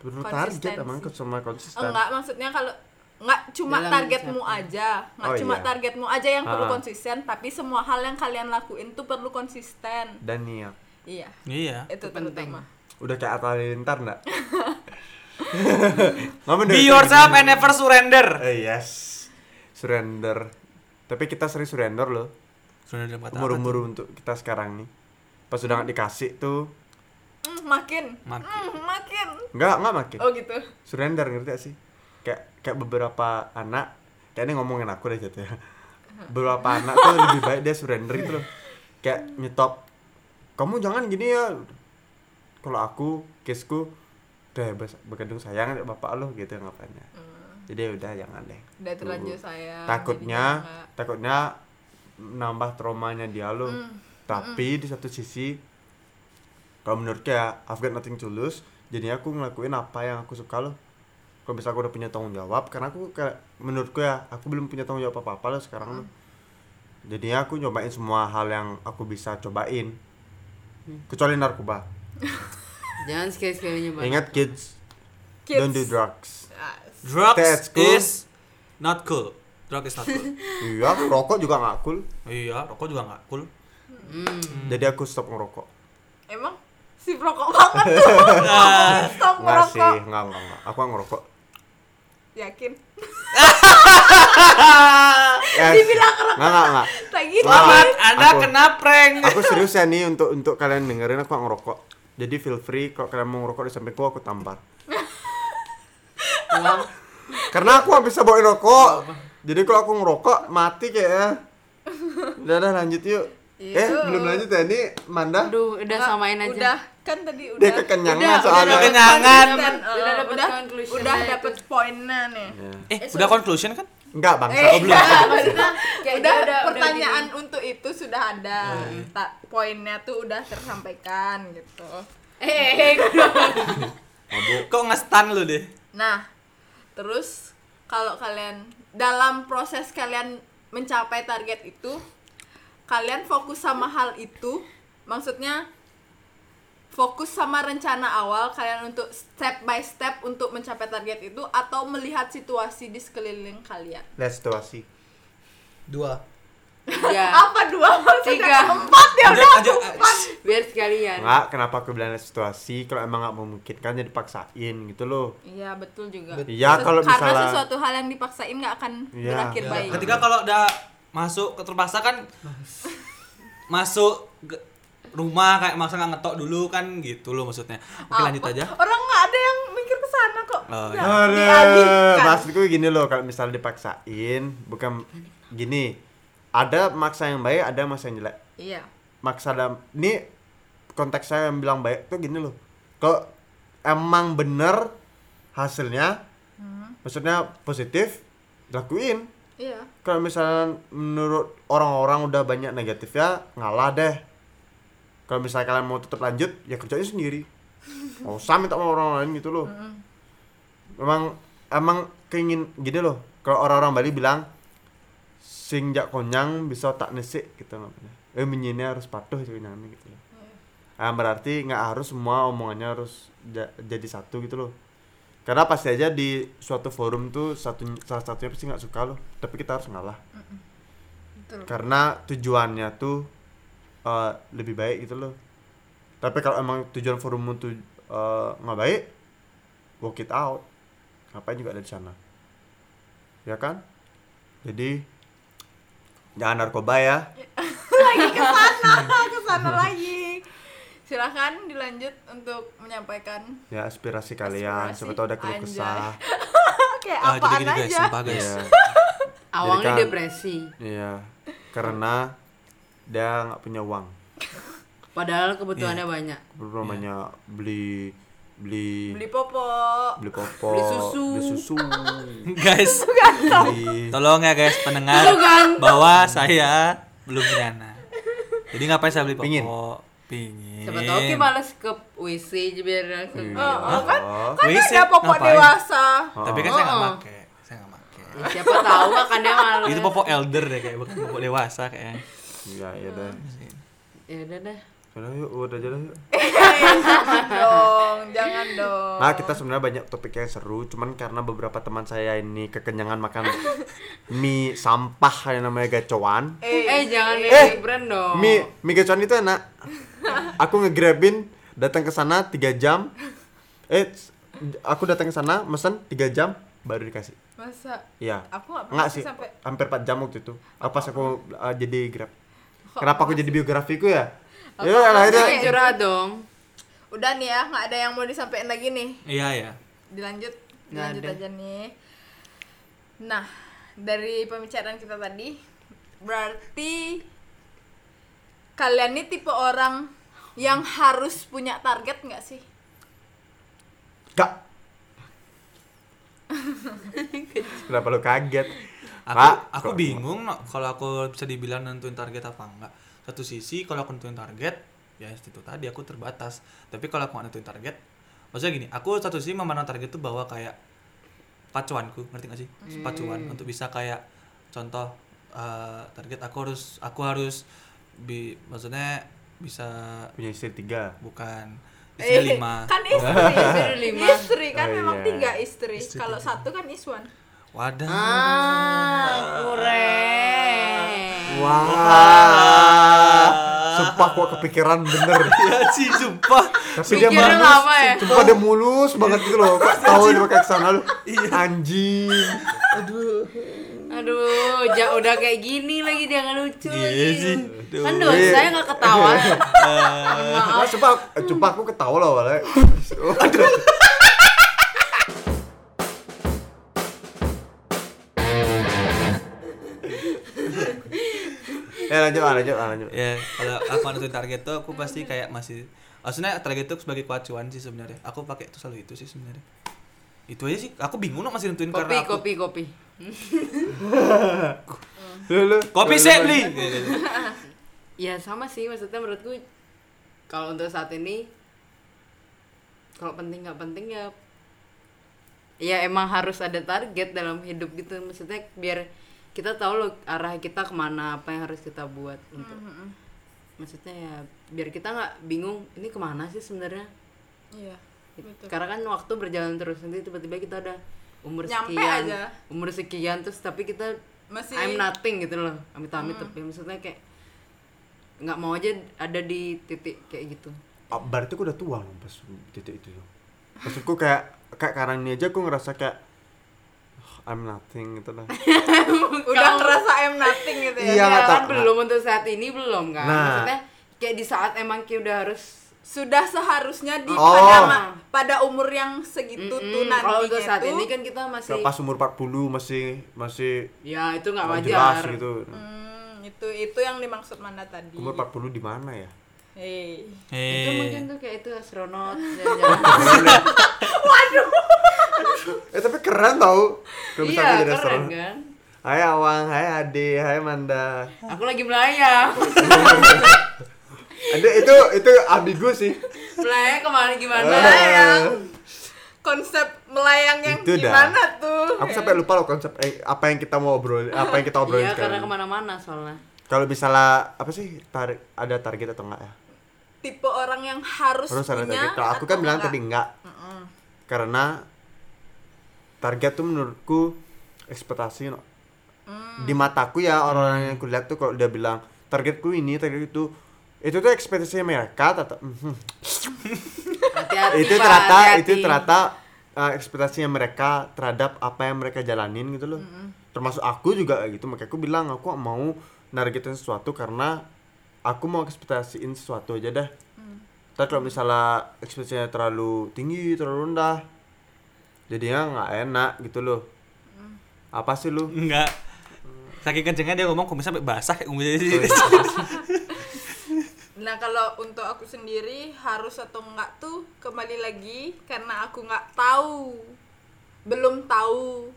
Speaker 3: Perlu target
Speaker 1: Konsistensi.
Speaker 3: emang ke- sama konsisten.
Speaker 1: enggak maksudnya kalau nggak cuma
Speaker 2: Dalam
Speaker 1: targetmu
Speaker 2: mencapai.
Speaker 1: aja nggak
Speaker 3: Oh,
Speaker 1: cuma
Speaker 3: iya.
Speaker 1: targetmu aja yang perlu
Speaker 3: Ah.
Speaker 1: konsisten tapi semua hal yang kalian lakuin tuh perlu konsisten
Speaker 3: Dan niat.
Speaker 1: iya
Speaker 4: Iya.
Speaker 1: itu
Speaker 2: penting.
Speaker 1: terutama
Speaker 3: Udah kayak Atta Halilintar enggak? Ngomong
Speaker 4: Be
Speaker 3: dari-
Speaker 4: yourself eh. and never surrender.
Speaker 3: Eh, yes. Surrender. Tapi kita sering surrender loh.
Speaker 4: Surrender dalam kata apa tuh?
Speaker 3: Umur-umur untuk kita sekarang nih. Pas udah nggak dikasih tuh,
Speaker 1: Mm, makin
Speaker 4: Makin.
Speaker 1: Mm, makin
Speaker 3: nggak nggak makin.
Speaker 1: oh gitu
Speaker 3: surrender ngerti gak sih kayak kayak beberapa anak kayak ini ngomongin aku deh jatuhnya beberapa anak tuh lebih baik dia surrender gitu loh kayak nyetop kamu jangan gini ya kalau aku kesku udah bas- berkandung sayang sama bapak lo gitu ngapainnya jadi ya udah jangan deh
Speaker 1: Hmm. udah
Speaker 3: Tuh.
Speaker 1: terlanjur saya
Speaker 3: takutnya takutnya nambah traumanya dia lo
Speaker 1: Mm,
Speaker 3: tapi di satu sisi kalau menurut kayak I've got nothing to lose jadi aku ngelakuin apa yang aku suka loh kalau bisa aku udah punya tanggung jawab karena aku kayak menurutku ya aku belum punya tanggung jawab apa apa loh sekarang loh
Speaker 1: Mm.
Speaker 3: jadinya aku nyobain semua hal yang aku bisa cobain
Speaker 1: Mm.
Speaker 3: kecuali narkoba
Speaker 2: jangan sekali sekalinya bang
Speaker 3: ingat kids,
Speaker 1: Kids.
Speaker 3: don't do drugs That's
Speaker 4: Drugs
Speaker 3: cool.
Speaker 4: is not cool. Drug is not cool.
Speaker 3: iya rokok juga nggak cool
Speaker 4: iya, rokok juga nggak cool.
Speaker 3: jadi aku stop ngerokok
Speaker 1: emang si perokok banget tuh
Speaker 2: Nah,
Speaker 1: stop
Speaker 3: nggak sih
Speaker 1: merokok
Speaker 3: nggak nggak nggak aku nggak ngerokok
Speaker 1: yakin
Speaker 3: ya,
Speaker 1: Dibilang
Speaker 3: nggak nggak nggak
Speaker 1: tak gitu
Speaker 4: Selamat,
Speaker 3: Aku-
Speaker 4: Anda kena prank.
Speaker 3: aku serius ya nih untuk untuk kalian dengerin aku nggak ngerokok jadi feel free kalau kalian mau ngerokok di sampingku aku tampar
Speaker 2: uang
Speaker 3: karena aku nggak bisa bawain rokok jadi kalau aku ngerokok mati kayaknya udah udah lanjut yuk eh
Speaker 1: Yuk.
Speaker 3: belum lanjut ya ini Manda
Speaker 2: aduh udah
Speaker 1: Nggak,
Speaker 2: samain aja
Speaker 1: udah kan tadi udah
Speaker 3: dia kekenyangan
Speaker 2: Udah,
Speaker 3: soalnya
Speaker 4: udah kenyangan.
Speaker 1: Udah,
Speaker 2: Udah
Speaker 1: udah
Speaker 2: dapet
Speaker 1: udah
Speaker 2: conclusion-nya
Speaker 1: udah
Speaker 2: itu.
Speaker 1: dapet poinnya nih
Speaker 3: Ya.
Speaker 4: Eh, udah conclusion kan?
Speaker 3: enggak bang
Speaker 1: Eh,
Speaker 3: Oh, belum
Speaker 1: maksudnya udah,
Speaker 2: Kayak dia udah- udah
Speaker 1: pertanyaan untuk itu sudah ada.
Speaker 3: Iya.
Speaker 1: Tak poinnya tuh udah tersampaikan gitu.
Speaker 2: eh eh,
Speaker 3: mabuk
Speaker 4: Kok ngestan lu deh?
Speaker 1: Nah, terus kalau kalian dalam proses kalian mencapai target itu, kalian fokus sama hal itu, maksudnya fokus sama rencana awal kalian untuk step by step untuk mencapai target itu atau melihat situasi di sekeliling kalian.
Speaker 3: lihat situasi
Speaker 4: Dua.
Speaker 2: ya
Speaker 1: Apa dua maksudnya?
Speaker 2: Tiga.
Speaker 1: Empat ya
Speaker 4: Lanjut,
Speaker 1: udah
Speaker 4: lanjut.
Speaker 1: empat.
Speaker 2: biar sekalian
Speaker 3: enggak kenapa aku bilang lihat situasi kalau emang nggak memungkinkan jadi paksain gitu loh
Speaker 1: Iya betul juga.
Speaker 4: Betul.
Speaker 3: Iya,
Speaker 1: Sesu-
Speaker 3: kalau
Speaker 1: karena
Speaker 3: misalnya-
Speaker 1: sesuatu hal yang dipaksain nggak akan
Speaker 3: Iya.
Speaker 1: berakhir
Speaker 3: Iya.
Speaker 1: baik.
Speaker 4: Eh, Ketika kalau udah masuk ke terpaksa kan masuk ke rumah kayak maksa nggak ngetok dulu kan gitu loh maksudnya. Oke,
Speaker 1: Apa?
Speaker 4: lanjut aja.
Speaker 1: Orang nggak ada yang mikir ke sana kok.
Speaker 4: Oh,
Speaker 1: Nggak,
Speaker 3: Aduh,
Speaker 1: dialihkan.
Speaker 3: maksudku gini loh kalau misalnya dipaksain bukan gini ada maksa yang baik ada maksa yang jelek
Speaker 1: Iya.
Speaker 3: maksa dalam ini konteks saya yang bilang baik tuh gini loh kalau emang bener hasilnya maksudnya positif lakuin
Speaker 1: Iya.
Speaker 3: kalau misalnya menurut orang-orang udah banyak negatifnya ngalah deh kalau misalnya kalian mau tetap lanjut ya kerjain sendiri nggak usah minta sama orang lain gitu loh memang emang keingin gini loh kalau orang-orang Bali bilang sing jak konyang bisa tak nesik gitu namanya eh menyinnya harus patuh sih namanya gitu loh Ah, berarti nggak harus semua omongannya harus ja- jadi satu gitu loh karena pasti aja di suatu forum tuh satu salah satunya pasti nggak suka loh tapi kita harus ngalah
Speaker 1: Hmm. Betul.
Speaker 3: karena tujuannya tuh eh, lebih baik gitu loh tapi kalau emang tujuan forummu tuh eh, nggak baik walk it out ngapain juga ada di sana ya kan jadi jangan narkoba ya
Speaker 1: Lagi ke sana, ke sana lagi. silahkan dilanjut untuk menyampaikan
Speaker 3: ya aspirasi kalian
Speaker 1: Aspirasi.
Speaker 3: siapa tahu ada keluh
Speaker 1: Anjay.
Speaker 3: kesah
Speaker 1: kayak
Speaker 4: Ah,
Speaker 1: apaan
Speaker 4: jadi gini guys,
Speaker 1: aja
Speaker 4: sumpah guys.
Speaker 3: Iya.
Speaker 2: Awalnya
Speaker 3: kan-
Speaker 2: depresi.
Speaker 3: iya karena dia nggak punya uang
Speaker 2: Padahal kebutuhannya banyak.
Speaker 3: belum banyak beli beli
Speaker 1: beli popok
Speaker 3: beli popok
Speaker 2: Beli susu.
Speaker 3: beli susu
Speaker 4: guys,
Speaker 3: beli
Speaker 4: tolong ya guys pendengar bahwa saya belum punya anak. Jadi ngapain saya beli popok?
Speaker 3: Pingin.
Speaker 4: Pingin.
Speaker 2: Siapa tahu Ki males ke WC biar
Speaker 3: Iya.
Speaker 1: Oh, oh, kan kan
Speaker 4: Wih, sih,
Speaker 1: ada popok
Speaker 4: ngapain?
Speaker 1: dewasa
Speaker 4: Tapi kan saya nggak
Speaker 2: Oh.
Speaker 4: pakai. Saya nggak pakai.
Speaker 2: Ya, siapa tahu akan dia malas.
Speaker 4: Itu popok elder deh kayak bukan popok dewasa kayaknya.
Speaker 3: iya iya deh
Speaker 2: Ya udah dah.
Speaker 3: udah yuk udah aja lah yuk
Speaker 2: Eh.
Speaker 1: Eh, jangan dong jangan dong
Speaker 3: Nah kita sebenarnya banyak topik yang seru, cuman karena beberapa teman saya ini kekenyangan makan mie sampah yang namanya gacoan.
Speaker 2: Eh,
Speaker 1: eh
Speaker 2: jangan eh. brand dong.
Speaker 3: Mie mie gacoan itu enak. Aku ngegrabin datang ke sana 3 jam. Eh aku datang ke sana mesen 3 jam baru dikasih.
Speaker 1: masa
Speaker 3: Iya.
Speaker 1: aku nggak pernah
Speaker 3: Enggak
Speaker 1: sih
Speaker 3: sih,
Speaker 1: sampai
Speaker 3: hampir 4 jam waktu itu. Apa pas aku uh, jadi grab. Kenapa aku jadi biografiku ya? Ya lah itu.
Speaker 2: Jangan curhat dong.
Speaker 1: udah nih ya nggak ada yang mau disampaikan lagi nih
Speaker 4: Iya ya.
Speaker 1: dilanjut
Speaker 2: Nggak
Speaker 1: dilanjut
Speaker 2: ada.
Speaker 1: aja nih nah dari pembicaraan kita tadi berarti kalian nih tipe orang yang harus punya target nggak sih
Speaker 3: Kak. Kenapa lu kaget?
Speaker 4: Aku
Speaker 3: Pak,
Speaker 4: aku
Speaker 3: kok-
Speaker 4: bingung no, kalau aku bisa dibilang nentuin target apa enggak. Satu sisi kalau aku nentuin target ya itu tadi aku terbatas. Tapi kalau aku nggak nentuin target maksudnya gini, aku satu sisi memandang target itu bahwa kayak pacuanku, ngerti gak sih? Pacuan untuk bisa kayak contoh eh, target aku harus aku harus bi maksudnya bisa
Speaker 3: Punya istri tiga.
Speaker 4: bukan
Speaker 1: Eh,
Speaker 4: istri lima.
Speaker 1: kan istri
Speaker 2: Baru lima.
Speaker 1: istri kan
Speaker 3: Oh,
Speaker 1: memang
Speaker 3: iya.
Speaker 1: tiga istri, kalau satu kan iswan
Speaker 4: Wadah.
Speaker 2: Ah, kurang.
Speaker 3: Wah, sumpah kok kepikiran bener.
Speaker 4: ya sih, sumpah.
Speaker 3: Tapi dia
Speaker 2: Mikirnya
Speaker 3: mulus,
Speaker 2: lama ya?
Speaker 3: sumpah dia mulus banget gitu loh. Kok tahu dia pakai kesana lu?
Speaker 4: Iya.
Speaker 3: Anjing.
Speaker 2: Aduh, ja, udah kayak gini lagi dia nggak lucu
Speaker 4: Iya
Speaker 2: lagi.
Speaker 4: sih. Aduh.
Speaker 2: Kan dosa saya nggak ketawa.
Speaker 3: Nah, sumpah, sumpah aku ketawa loh awalnya. Aduh. Ya lanjut, ah, lanjut, ah, lanjut.
Speaker 4: ya kalau aku nentuin target tuh aku pasti kayak masih maksudnya target tuh sebagai kewacuan sih sebenarnya aku pakai itu selalu itu sih sebenarnya itu aja sih aku bingung loh masih nentuin
Speaker 2: Kopi,
Speaker 4: karena aku
Speaker 2: kopi, kopi.
Speaker 3: Lu, lu.
Speaker 4: kopi Gitu.
Speaker 3: Lu,
Speaker 4: sih
Speaker 3: lu,
Speaker 4: beli
Speaker 3: lu.
Speaker 2: Ya sama sih, maksudnya menurutku kalau untuk saat ini kalau penting nggak penting ya ya emang harus ada target dalam hidup gitu maksudnya biar kita tahu loh arah kita kemana apa yang harus kita buat untuk
Speaker 1: Mm,
Speaker 2: maksudnya ya biar kita nggak bingung ini kemana sih sebenarnya
Speaker 1: iya betul
Speaker 2: karena kan waktu berjalan terus nanti tiba-tiba kita udah umur
Speaker 1: Nyampe
Speaker 2: sekian
Speaker 1: aja.
Speaker 2: umur sekian terus tapi kita
Speaker 1: Masih-
Speaker 2: I'm nothing gitu loh amit-amit tapi maksudnya kayak nggak mau aja ada di titik kayak gitu
Speaker 3: Ah, berarti aku udah tua loh pas titik itu loh. Maksudku kayak kayak karang ini aja aku ngerasa kayak "Oh, I'm nothing gitu lah.
Speaker 1: udah ngerasa I'm nothing gitu ya
Speaker 3: Iya,
Speaker 2: Ya,
Speaker 3: nggak
Speaker 2: kan
Speaker 3: tahu.
Speaker 2: belum untuk saat ini belum kan
Speaker 3: Nah.
Speaker 2: maksudnya kayak di saat emang kayak udah harus
Speaker 1: sudah seharusnya di
Speaker 3: Oh.
Speaker 1: pada ma- pada umur yang segitu tuh
Speaker 2: Mm-mm,
Speaker 1: nantinya
Speaker 2: kalau untuk saat
Speaker 1: tuh,
Speaker 2: ini kan kita masih
Speaker 3: Kayak pas umur 40 masih masih
Speaker 2: ya itu nggak
Speaker 3: nggak
Speaker 2: wajar
Speaker 3: jelas gitu.
Speaker 1: Hmm, itu itu yang dimaksud Manda tadi.
Speaker 3: Umur 40 di mana ya?
Speaker 1: Hei.
Speaker 2: itu
Speaker 4: eh
Speaker 2: mungkin tuh kayak itu astronot jalan-jalan.
Speaker 3: Eh tapi keren tau. Kalau
Speaker 2: iya
Speaker 3: misalnya jadi
Speaker 2: keren
Speaker 3: astronot.
Speaker 2: kan
Speaker 3: Hai Awang, hai Ade, hai Manda.
Speaker 2: aku lagi melayang
Speaker 3: Ade itu itu ambigu sih.
Speaker 2: melayang kemana gimana
Speaker 3: Eh,
Speaker 1: Melayang. Konsep melayang yang
Speaker 3: Itu dah.
Speaker 1: gimana tuh?
Speaker 3: Aku sampai lupa loh konsep eh, apa yang kita mau obrolin, apa yang kita obrolin
Speaker 2: Iya
Speaker 3: sekarang.
Speaker 2: karena kemana-mana soalnya
Speaker 3: Kalau misalnya apa sih tarik ada target atau enggak ya?
Speaker 1: Tipe orang yang harus,
Speaker 3: Terus ada
Speaker 1: punya.
Speaker 3: target. Kalau aku kan
Speaker 1: atau
Speaker 3: bilang tadi
Speaker 1: enggak.
Speaker 3: enggak. Karena target tuh menurutku ekspektasi no. di mataku ya orang-orang yang kulihat tuh kalau udah bilang targetku ini, target itu itu tuh ekspektasi mereka tata- Mhm.
Speaker 2: Hati-hati
Speaker 3: itu
Speaker 2: Pak,
Speaker 3: ternyata
Speaker 2: hati-hati.
Speaker 3: itu ternyata uh, ekspektasinya mereka terhadap apa yang mereka jalanin gitu loh termasuk aku juga kayak gitu makanya aku bilang aku nggak mau nargetin sesuatu karena aku mau ekspektasiin sesuatu aja dah Tapi kalau misalnya ekspektasinya terlalu tinggi, terlalu rendah, jadinya nggak enak gitu loh. Apa sih lu?
Speaker 4: Eh, Enggak. Saking kencengnya dia ngomong kumis sampai basah kayak kumis sih.
Speaker 1: Nah kalau untuk aku sendiri harus atau enggak tuh kembali lagi karena aku nggak tahu, belum tahu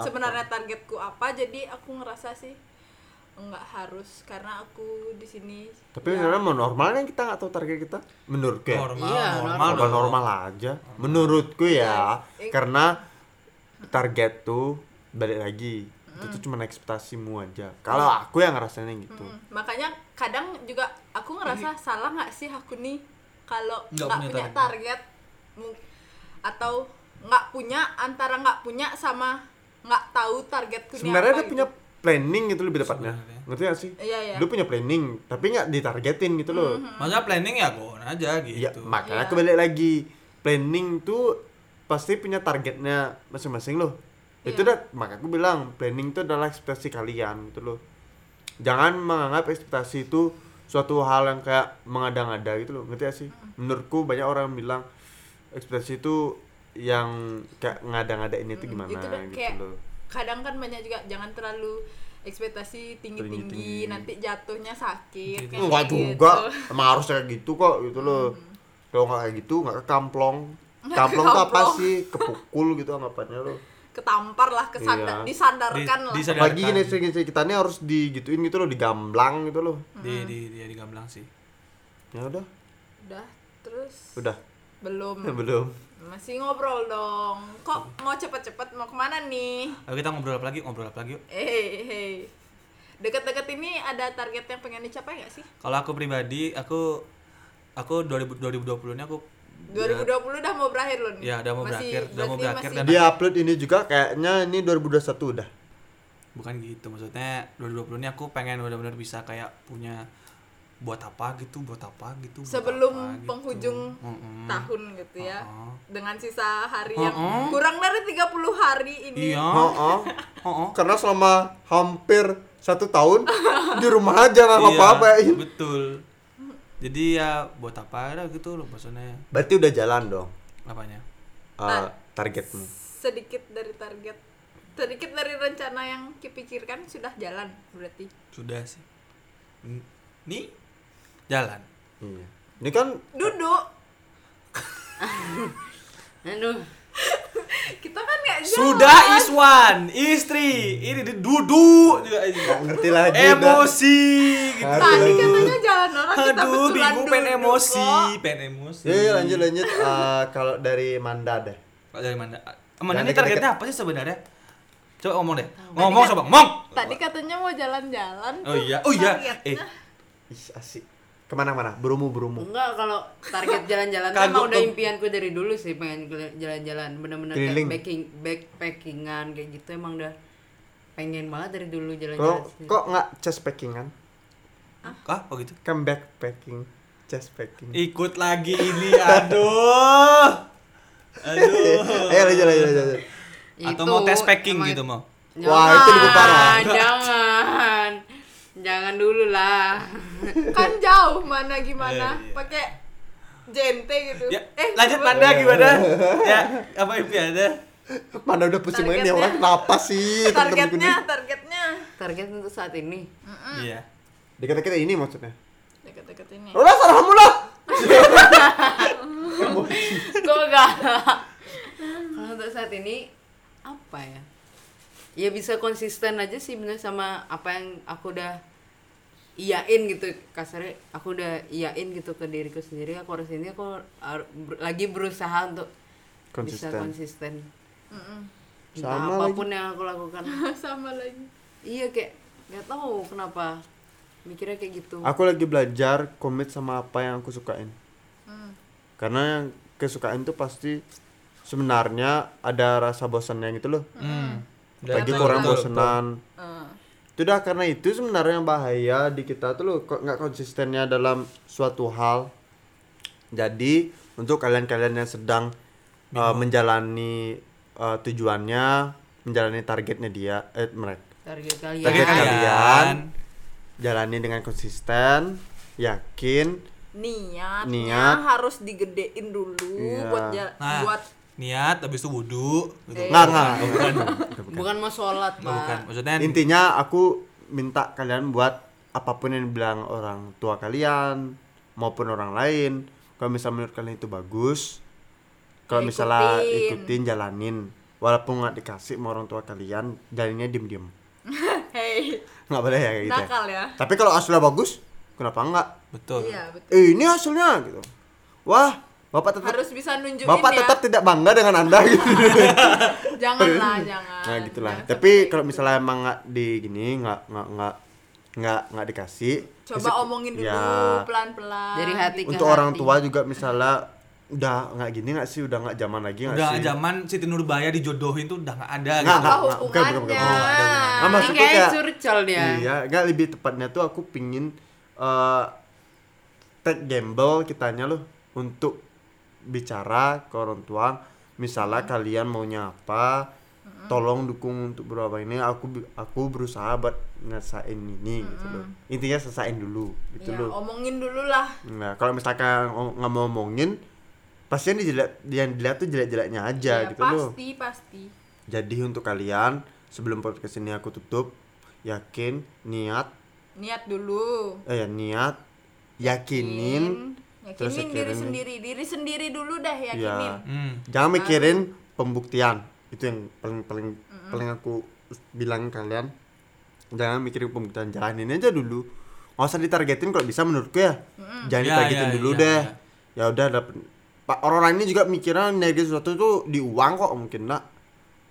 Speaker 1: sebenarnya targetku apa. Jadi aku ngerasa sih nggak harus karena aku di sini. Ya.
Speaker 3: Tapi sebenarnya mau normalnya kita nggak tahu target kita. ya. Menurut gue.
Speaker 4: normal,
Speaker 2: Iya,
Speaker 4: normal,
Speaker 3: normal
Speaker 4: dong.
Speaker 3: normal aja menurutku ya
Speaker 1: Iya.
Speaker 3: karena target tuh balik lagi itu tuh cuma ekspektasimu aja kalau aku yang ngerasainnya gitu
Speaker 1: Iya. Hmm, Makanya kadang juga aku ngerasa salah nggak sih aku nih kalau
Speaker 4: Nggak
Speaker 1: nggak
Speaker 4: punya
Speaker 1: punya target Mu- atau nggak punya antara nggak punya sama nggak tahu targetku ini
Speaker 3: sebenarnya
Speaker 1: apa
Speaker 3: dia
Speaker 1: gitu.
Speaker 3: punya planning gitu lebih tepatnya
Speaker 4: Sebenarnya.
Speaker 3: ngerti gak sih
Speaker 1: Iya, Hmm, iya.
Speaker 3: lu punya planning tapi nggak ditargetin gitu loh
Speaker 4: Maksudnya planning ya goon aja gitu.
Speaker 3: ya
Speaker 1: Iya.
Speaker 3: makanya aku balik lagi planning tuh pasti punya targetnya masing-masing loh itu
Speaker 1: Iya.
Speaker 3: dah makanya aku bilang planning itu adalah ekspektasi kalian gitu loh jangan menganggap ekspektasi itu suatu hal yang kayak mengada-ngada gitu loh ngerti gak sih
Speaker 1: Hmm.
Speaker 3: menurutku banyak orang bilang ekspektasi itu yang kayak ngada-ngadain itu
Speaker 1: Mm,
Speaker 3: gimana
Speaker 1: itu dah
Speaker 3: gitu
Speaker 1: kayak-
Speaker 3: loh
Speaker 1: kadang kan banyak juga jangan terlalu ekspektasi tinggi-tinggi
Speaker 3: Tinggi-tinggi.
Speaker 1: nanti jatuhnya sakit kayak
Speaker 3: enggak
Speaker 1: gitu.
Speaker 3: juga emang harus kayak gitu kok gitu loh
Speaker 1: Hmm.
Speaker 3: kalau nggak kayak gitu nggak kekamplong kamplong tuh apa
Speaker 1: kekamplong.
Speaker 3: sih kepukul gitu anggapannya loh
Speaker 1: ketampar lah kesandar
Speaker 3: Iya.
Speaker 1: disandarkan
Speaker 4: Di-
Speaker 1: lah
Speaker 4: disadar- Sadarkan.
Speaker 3: lagi generasi generasi kita ini harus digituin gitu loh digamblang gitu loh
Speaker 4: Di di dia digamblang sih.
Speaker 3: ya udah
Speaker 1: udah terus
Speaker 3: udah
Speaker 1: Hmm. Eh, belum
Speaker 3: belum
Speaker 1: masih ngobrol dong kok mau cepet-cepet mau kemana nih
Speaker 4: Ayo kita ngobrol apa lagi? Ngobrol apa lagi yuk.
Speaker 1: eh hey deket-deket ini ada target yang pengen dicapai nggak sih
Speaker 4: Kalau aku pribadi, aku aku 2000 2020 ini aku
Speaker 1: 2020 udah mau berakhir loh nih.
Speaker 4: Ya, udah mau berakhir, udah mau
Speaker 1: berarti
Speaker 4: berakhir
Speaker 1: masih-
Speaker 4: dan-
Speaker 3: di upload ini juga kayaknya ini 2021 udah
Speaker 4: bukan gitu maksudnya 2020 ini aku pengen benar-benar bisa kayak punya buat apa gitu, buat apa gitu. buat
Speaker 1: sebelum
Speaker 4: apa gitu.
Speaker 1: penghujung
Speaker 4: Mm-mm.
Speaker 1: tahun gitu ya
Speaker 4: Uh-uh.
Speaker 1: dengan sisa hari yang
Speaker 4: Uh-uh.
Speaker 1: kurang dari 30 hari ini
Speaker 4: Iya.
Speaker 3: oh,
Speaker 4: Oh,
Speaker 3: oh.
Speaker 4: oh.
Speaker 3: karena selama hampir satu tahun di rumah aja nggak apa apa
Speaker 4: Iya, betul. Jadi ya buat apa ya gitu loh maksudnya
Speaker 3: berarti udah jalan dong
Speaker 4: apanya?
Speaker 3: eh, targetmu
Speaker 1: sedikit dari target sedikit dari rencana yang kipikirkan sudah jalan berarti
Speaker 4: Sudah sih. N- Nih jalan.
Speaker 3: iya. ini kan
Speaker 1: duduk
Speaker 2: Aduh,
Speaker 1: kita kan nggak jalan
Speaker 4: Sudah Iswan, istri, ini dia duduk juga ini.
Speaker 3: nggak ngerti lagi
Speaker 4: Eh,
Speaker 3: udah.
Speaker 4: Emosi gitu.
Speaker 1: tadi katanya jalan orang kita
Speaker 4: Aduh,
Speaker 1: betulan
Speaker 4: bingung pengen
Speaker 1: duduk
Speaker 4: emosi,
Speaker 1: kok.
Speaker 4: pengen emosi.
Speaker 3: ya, ya, lanjut lanjut Eh, kalau dari Manda deh
Speaker 4: Kalau dari mana? Mana ini
Speaker 3: Jangan
Speaker 4: targetnya
Speaker 3: deket-deket.
Speaker 4: apa sih sebenarnya? Coba ngomong deh. Ngomong coba, ngomong.
Speaker 1: tadi katanya mau jalan-jalan
Speaker 4: Oh
Speaker 1: tuh Nah,
Speaker 4: iya, oh iya. Eh,
Speaker 1: targetnya.
Speaker 3: Ih, asik kemana-mana berumu berumu
Speaker 2: enggak kalau target jalan-jalan kan
Speaker 4: Kagok
Speaker 2: emang udah
Speaker 4: tuh.
Speaker 2: impianku dari dulu sih pengen gel- jalan-jalan bener-bener
Speaker 3: Keliling.
Speaker 2: kayak backing, backpackingan kayak gitu emang udah pengen banget dari dulu jalan-jalan.
Speaker 3: kok
Speaker 2: Iya, sih.
Speaker 3: kok nggak chest packingan
Speaker 4: ah, kok gitu?
Speaker 3: kan backpacking chest packing
Speaker 4: Ikut lagi ini, aduh. Aduh.
Speaker 3: Eh, lanjut, lanjut, lanjut.
Speaker 4: Atau
Speaker 2: Itu
Speaker 4: mau tes packing
Speaker 2: emang-
Speaker 4: gitu mau?
Speaker 3: Wah, itu lebih parah.
Speaker 2: Jangan. Jangan dulu lah.
Speaker 1: kan jauh mana gimana
Speaker 4: Eh, iya.
Speaker 1: pakai JNT gitu
Speaker 4: Ya, lanjut Manda gimana? Ya, apa impiannya?
Speaker 3: Mana udah pusing banget
Speaker 1: Targetnya-
Speaker 3: nih orang kenapa sih temen-temenku
Speaker 1: targetnya
Speaker 3: nih?
Speaker 1: targetnya
Speaker 2: Target untuk saat ini.
Speaker 4: Iya.
Speaker 3: Deket-deket ini maksudnya.
Speaker 1: deket-deket ini
Speaker 3: Udah sarah lah.
Speaker 2: Kok enggak? Kalau untuk saat ini apa ya? Ya bisa konsisten aja sih bener sama apa yang aku udah iyain gitu kasarnya aku udah iyain gitu ke diriku sendiri aku harus ini aku har- ber- lagi berusaha untuk bisa
Speaker 3: Konsisten.
Speaker 2: konsisten
Speaker 1: Mm-mm.
Speaker 2: Entah
Speaker 3: Sama
Speaker 2: apapun yang aku lakukan
Speaker 1: sama lagi
Speaker 2: iya kayak nggak tahu kenapa mikirnya kayak gitu
Speaker 3: Aku lagi belajar komit sama apa yang aku sukain.
Speaker 1: Hmm.
Speaker 3: Karena yang kesukaan tuh pasti sebenarnya ada rasa bosannya gitu loh.
Speaker 4: Hmm.
Speaker 3: Lagi
Speaker 4: Betul,
Speaker 3: kurang
Speaker 4: betul,
Speaker 3: bosenan.
Speaker 1: Eh,
Speaker 3: Itu dah karena itu sebenarnya yang bahaya di kita tuh loh kok nggak konsistennya dalam suatu hal. Jadi untuk kalian-kalian yang sedang uh, menjalani uh, tujuannya, menjalani targetnya dia, eh mereka
Speaker 2: target kalian
Speaker 4: Target
Speaker 3: target
Speaker 4: kalian.
Speaker 3: kalian jalani dengan konsisten yakin
Speaker 1: niatnya
Speaker 3: Niat.
Speaker 1: harus digedein dulu
Speaker 3: Iya.
Speaker 1: buat ja-
Speaker 4: Nah,
Speaker 1: buat
Speaker 4: niat habis itu wudhu gitu.
Speaker 3: Nggak, nggak.
Speaker 4: Bukan.
Speaker 2: Bukan mau sholat, Pak.
Speaker 4: Bukan. Maksudnya
Speaker 3: Intinya aku minta kalian buat apapun yang bilang orang tua kalian maupun orang lain, kalau misalnya menurut kalian itu bagus,
Speaker 1: Ya,
Speaker 3: kalau misalnya
Speaker 1: ikutin.
Speaker 3: ikutin jalanin, walaupun nggak dikasih sama orang tua kalian, jalannya diem-diem.
Speaker 1: hey
Speaker 3: Nggak boleh ya kayak gitu. ya.
Speaker 1: nakal ya
Speaker 3: Tapi kalau hasilnya bagus, kenapa enggak?
Speaker 4: betul.
Speaker 1: iya betul
Speaker 3: Eh, ini hasilnya gitu. Wah, Bapak tetap
Speaker 1: harus bisa nunjukin
Speaker 3: Bapak
Speaker 1: ya
Speaker 3: tetap tidak bangga dengan Anda gitu.
Speaker 1: janganlah jangan
Speaker 3: nah, gitulah.
Speaker 1: Jangan
Speaker 3: Tapi
Speaker 1: sampai
Speaker 3: kalau
Speaker 1: gitu.
Speaker 3: misalnya emang nggak di gini, nggak nggak nggak nggak nggak dikasih.
Speaker 1: coba
Speaker 3: kasih-
Speaker 1: omongin dulu
Speaker 4: Iya.
Speaker 3: Ya,
Speaker 1: pelan-pelan
Speaker 2: Dari hati ke
Speaker 3: untuk
Speaker 2: hati.
Speaker 3: orang tua juga misalnya udah nggak gini nggak sih udah nggak zaman lagi nggak
Speaker 4: Udah
Speaker 3: Iya sih
Speaker 4: zaman Siti Nurbaya dijodohin tuh udah nggak ada
Speaker 3: Nggak,
Speaker 4: gitu.
Speaker 1: apa
Speaker 3: nggak, bukan, bukan, bukan.
Speaker 1: hubungannya
Speaker 3: Oh,
Speaker 4: ada
Speaker 1: Iya.
Speaker 4: hubungannya.
Speaker 3: Nggak,
Speaker 2: Ini
Speaker 3: maksudku
Speaker 2: kayak
Speaker 3: kayak-
Speaker 2: curcol dia.
Speaker 3: iya nggak lebih tepatnya tuh aku pingin eh take gamble kitanya loh untuk bicara ke orang tua misalnya kalian maunya apa tolong dukung untuk berapa ini aku bi- aku berusaha buat ngesain ini gitu loh intinya selesaiin dulu gitu
Speaker 1: Ya,
Speaker 3: loh
Speaker 1: omongin dulu lah
Speaker 3: Nah, kalau misalkan ngom- nggak mau ngomongin, pasti yang dilihat yang dilihat tuh jelek-jeleknya aja
Speaker 1: Ya,
Speaker 3: gitu loh.
Speaker 1: pasti pasti
Speaker 3: Jadi untuk kalian sebelum podcast ini aku tutup, yakin, niat,
Speaker 1: niat dulu
Speaker 3: eh ya, niat, yakinin, terus
Speaker 1: yakinin diri
Speaker 3: yakinin.
Speaker 1: sendiri diri sendiri dulu dah yakinin
Speaker 3: ya.
Speaker 4: Hmm.
Speaker 3: Jangan mikirin pembuktian. Itu yang paling paling paling aku bilang ke kalian. Jangan mikirin pembuktian, jalanin aja dulu. Nggak usah ditargetin kalau bisa menurutku ya. Jangan
Speaker 4: Ya,
Speaker 3: ditargetin
Speaker 4: ya,
Speaker 3: dulu
Speaker 4: ya,
Speaker 3: deh.
Speaker 4: ya.
Speaker 3: Ya udah dapat Pak orang-orang ini juga mikirnya nilai sesuatu itu di uang kok mungkin nak.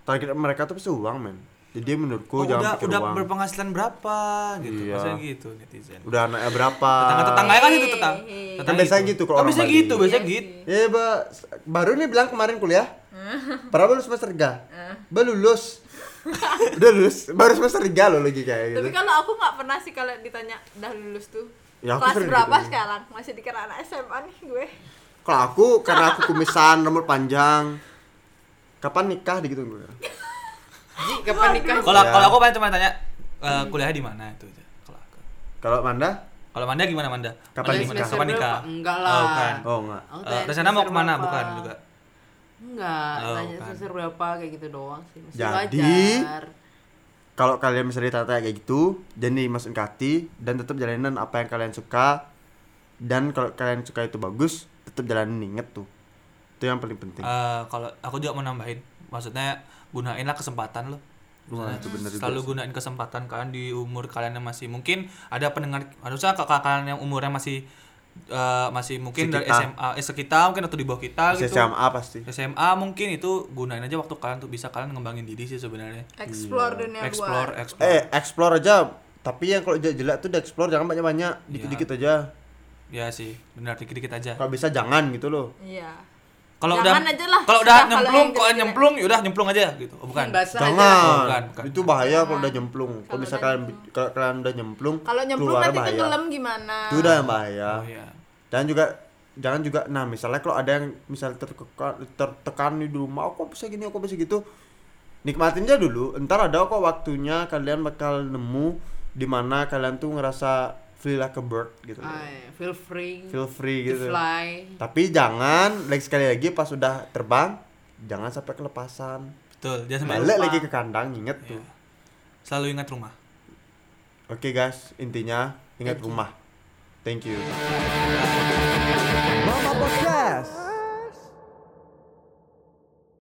Speaker 3: Target mereka tuh pasti uang, men. Jadi
Speaker 4: Oh,
Speaker 3: menurutku
Speaker 4: udah
Speaker 3: jangan mikir
Speaker 4: udah
Speaker 3: uang.
Speaker 4: berpenghasilan berapa gitu.
Speaker 3: Iya.
Speaker 4: Maksudnya gitu netizen.
Speaker 3: Udah anaknya berapa?
Speaker 4: Tetangga tetangga kan itu
Speaker 1: Hei,
Speaker 4: tetang.
Speaker 2: Iya,
Speaker 1: hei.
Speaker 4: tetang
Speaker 3: Kan biasanya gitu kalau
Speaker 4: Kan
Speaker 3: orang
Speaker 4: biasanya
Speaker 3: Bali.
Speaker 4: gitu, biasanya
Speaker 1: Iya
Speaker 4: gitu.
Speaker 1: sih.
Speaker 3: Eh, ba, baru nih bilang kemarin kuliah. Padahal baru semester 3. Ba lulus. Udah lulus, baru semester 3 loh lagi kayak gitu.
Speaker 1: tapi kan- kalau aku nggak pernah sih kalau ditanya dah lulus tuh
Speaker 3: Ya, aku
Speaker 1: kelas
Speaker 3: sering
Speaker 1: berapa
Speaker 3: ditanya.
Speaker 1: sekarang masih dikira anak SMA nih gue
Speaker 3: Kalau aku karena aku kumisan, rambut panjang. Kapan nikah gitu gue.
Speaker 2: Ji, kapan nikah?
Speaker 4: Kalau
Speaker 3: Ya.
Speaker 4: kalau aku paling cuma tanya eh, kuliahnya di mana itu aja. Kalau aku.
Speaker 3: Kalau Manda?
Speaker 4: Kalau Manda gimana Manda? Manda
Speaker 3: Kapan nikah?
Speaker 4: gimana? Kapan nikah?
Speaker 2: Semester berapa? Enggak
Speaker 4: Oh,
Speaker 2: lah.
Speaker 4: bukan.
Speaker 3: Oh, enggak.
Speaker 2: Aku
Speaker 4: Eh,
Speaker 2: tanya
Speaker 4: Rencana mau
Speaker 2: semester
Speaker 4: kemana?
Speaker 2: berapa.
Speaker 4: Bukan juga.
Speaker 2: Enggak,
Speaker 4: Oh,
Speaker 2: tanya
Speaker 4: bukan.
Speaker 2: semester berapa kayak gitu doang sih. Masih
Speaker 3: Jadi,
Speaker 2: wajar.
Speaker 3: Kalau kalian misalnya ditanya kayak gitu, jadi masukin ke hati dan tetap jalanin apa yang kalian suka. Dan kalau kalian suka itu bagus, tetap jalanin inget tuh. Itu yang paling penting.
Speaker 4: Eh, kalau aku juga mau nambahin, maksudnya gunainlah kesempatan loh.
Speaker 3: Wah, itu bener juga
Speaker 4: Selalu gunain kesempatan kan di umur kalian yang masih mungkin ada pendengar, harusnya kakak kalian yang umurnya masih eh, masih mungkin dari
Speaker 3: Sekitar.
Speaker 4: SMA eh, sekitar mungkin atau di bawah kita
Speaker 3: Masih
Speaker 4: gitu.
Speaker 3: SMA pasti.
Speaker 4: SMA mungkin itu gunain aja waktu kalian untuk bisa kalian ngembangin diri sih sebenarnya.
Speaker 1: explore dunia
Speaker 4: Explore,
Speaker 1: luar
Speaker 4: explore.
Speaker 3: Eh, explore aja. Tapi yang kalau jelek-jelek tuh udah explore jangan banyak-banyak,
Speaker 4: Iya.
Speaker 3: dikit-dikit aja.
Speaker 4: Ya sih, benar dikit-dikit aja.
Speaker 3: Kalau bisa jangan gitu loh.
Speaker 1: iya
Speaker 4: Kalau udah
Speaker 1: Jangan aja lah,
Speaker 4: kalau udah
Speaker 1: sudah, kalau yang
Speaker 4: nyemplung, kalau
Speaker 1: jelek-jelek.
Speaker 4: nyemplung ya udah nyemplung aja gitu. Oh, bukan.
Speaker 2: Basah aja.
Speaker 3: Jangan.
Speaker 4: Bukan, bukan.
Speaker 3: Itu bahaya kalau udah nyemplung. Kalau bisa kalian kalau kalian udah nyemplung,
Speaker 1: kalau nyemplung
Speaker 3: keluarnya
Speaker 1: nanti tenggelam gimana
Speaker 3: ya. Itu udah yang bahaya.
Speaker 4: Oh iya.
Speaker 3: Dan juga jangan juga nah misalnya kalau ada yang misalnya tertekan, tertekan di rumah, aku bisa gini, aku bisa gitu. Nikmatin aja dulu. Entar ada kok waktunya kalian bakal nemu di mana kalian tuh ngerasa feel like a bird gitu.
Speaker 2: Ay, Ah, feel free.
Speaker 3: Feel free
Speaker 2: iya. to
Speaker 3: gitu.
Speaker 2: fly.
Speaker 3: Tapi jangan lagi sekali lagi pas sudah terbang jangan sampai kelepasan.
Speaker 4: Betul, dia sampai
Speaker 3: Balik
Speaker 4: lupa. Iya.
Speaker 3: lagi ke kandang inget tuh.
Speaker 4: Selalu ingat rumah.
Speaker 3: Oke guys, intinya ingat rumah. Thank you. Mama Podcast.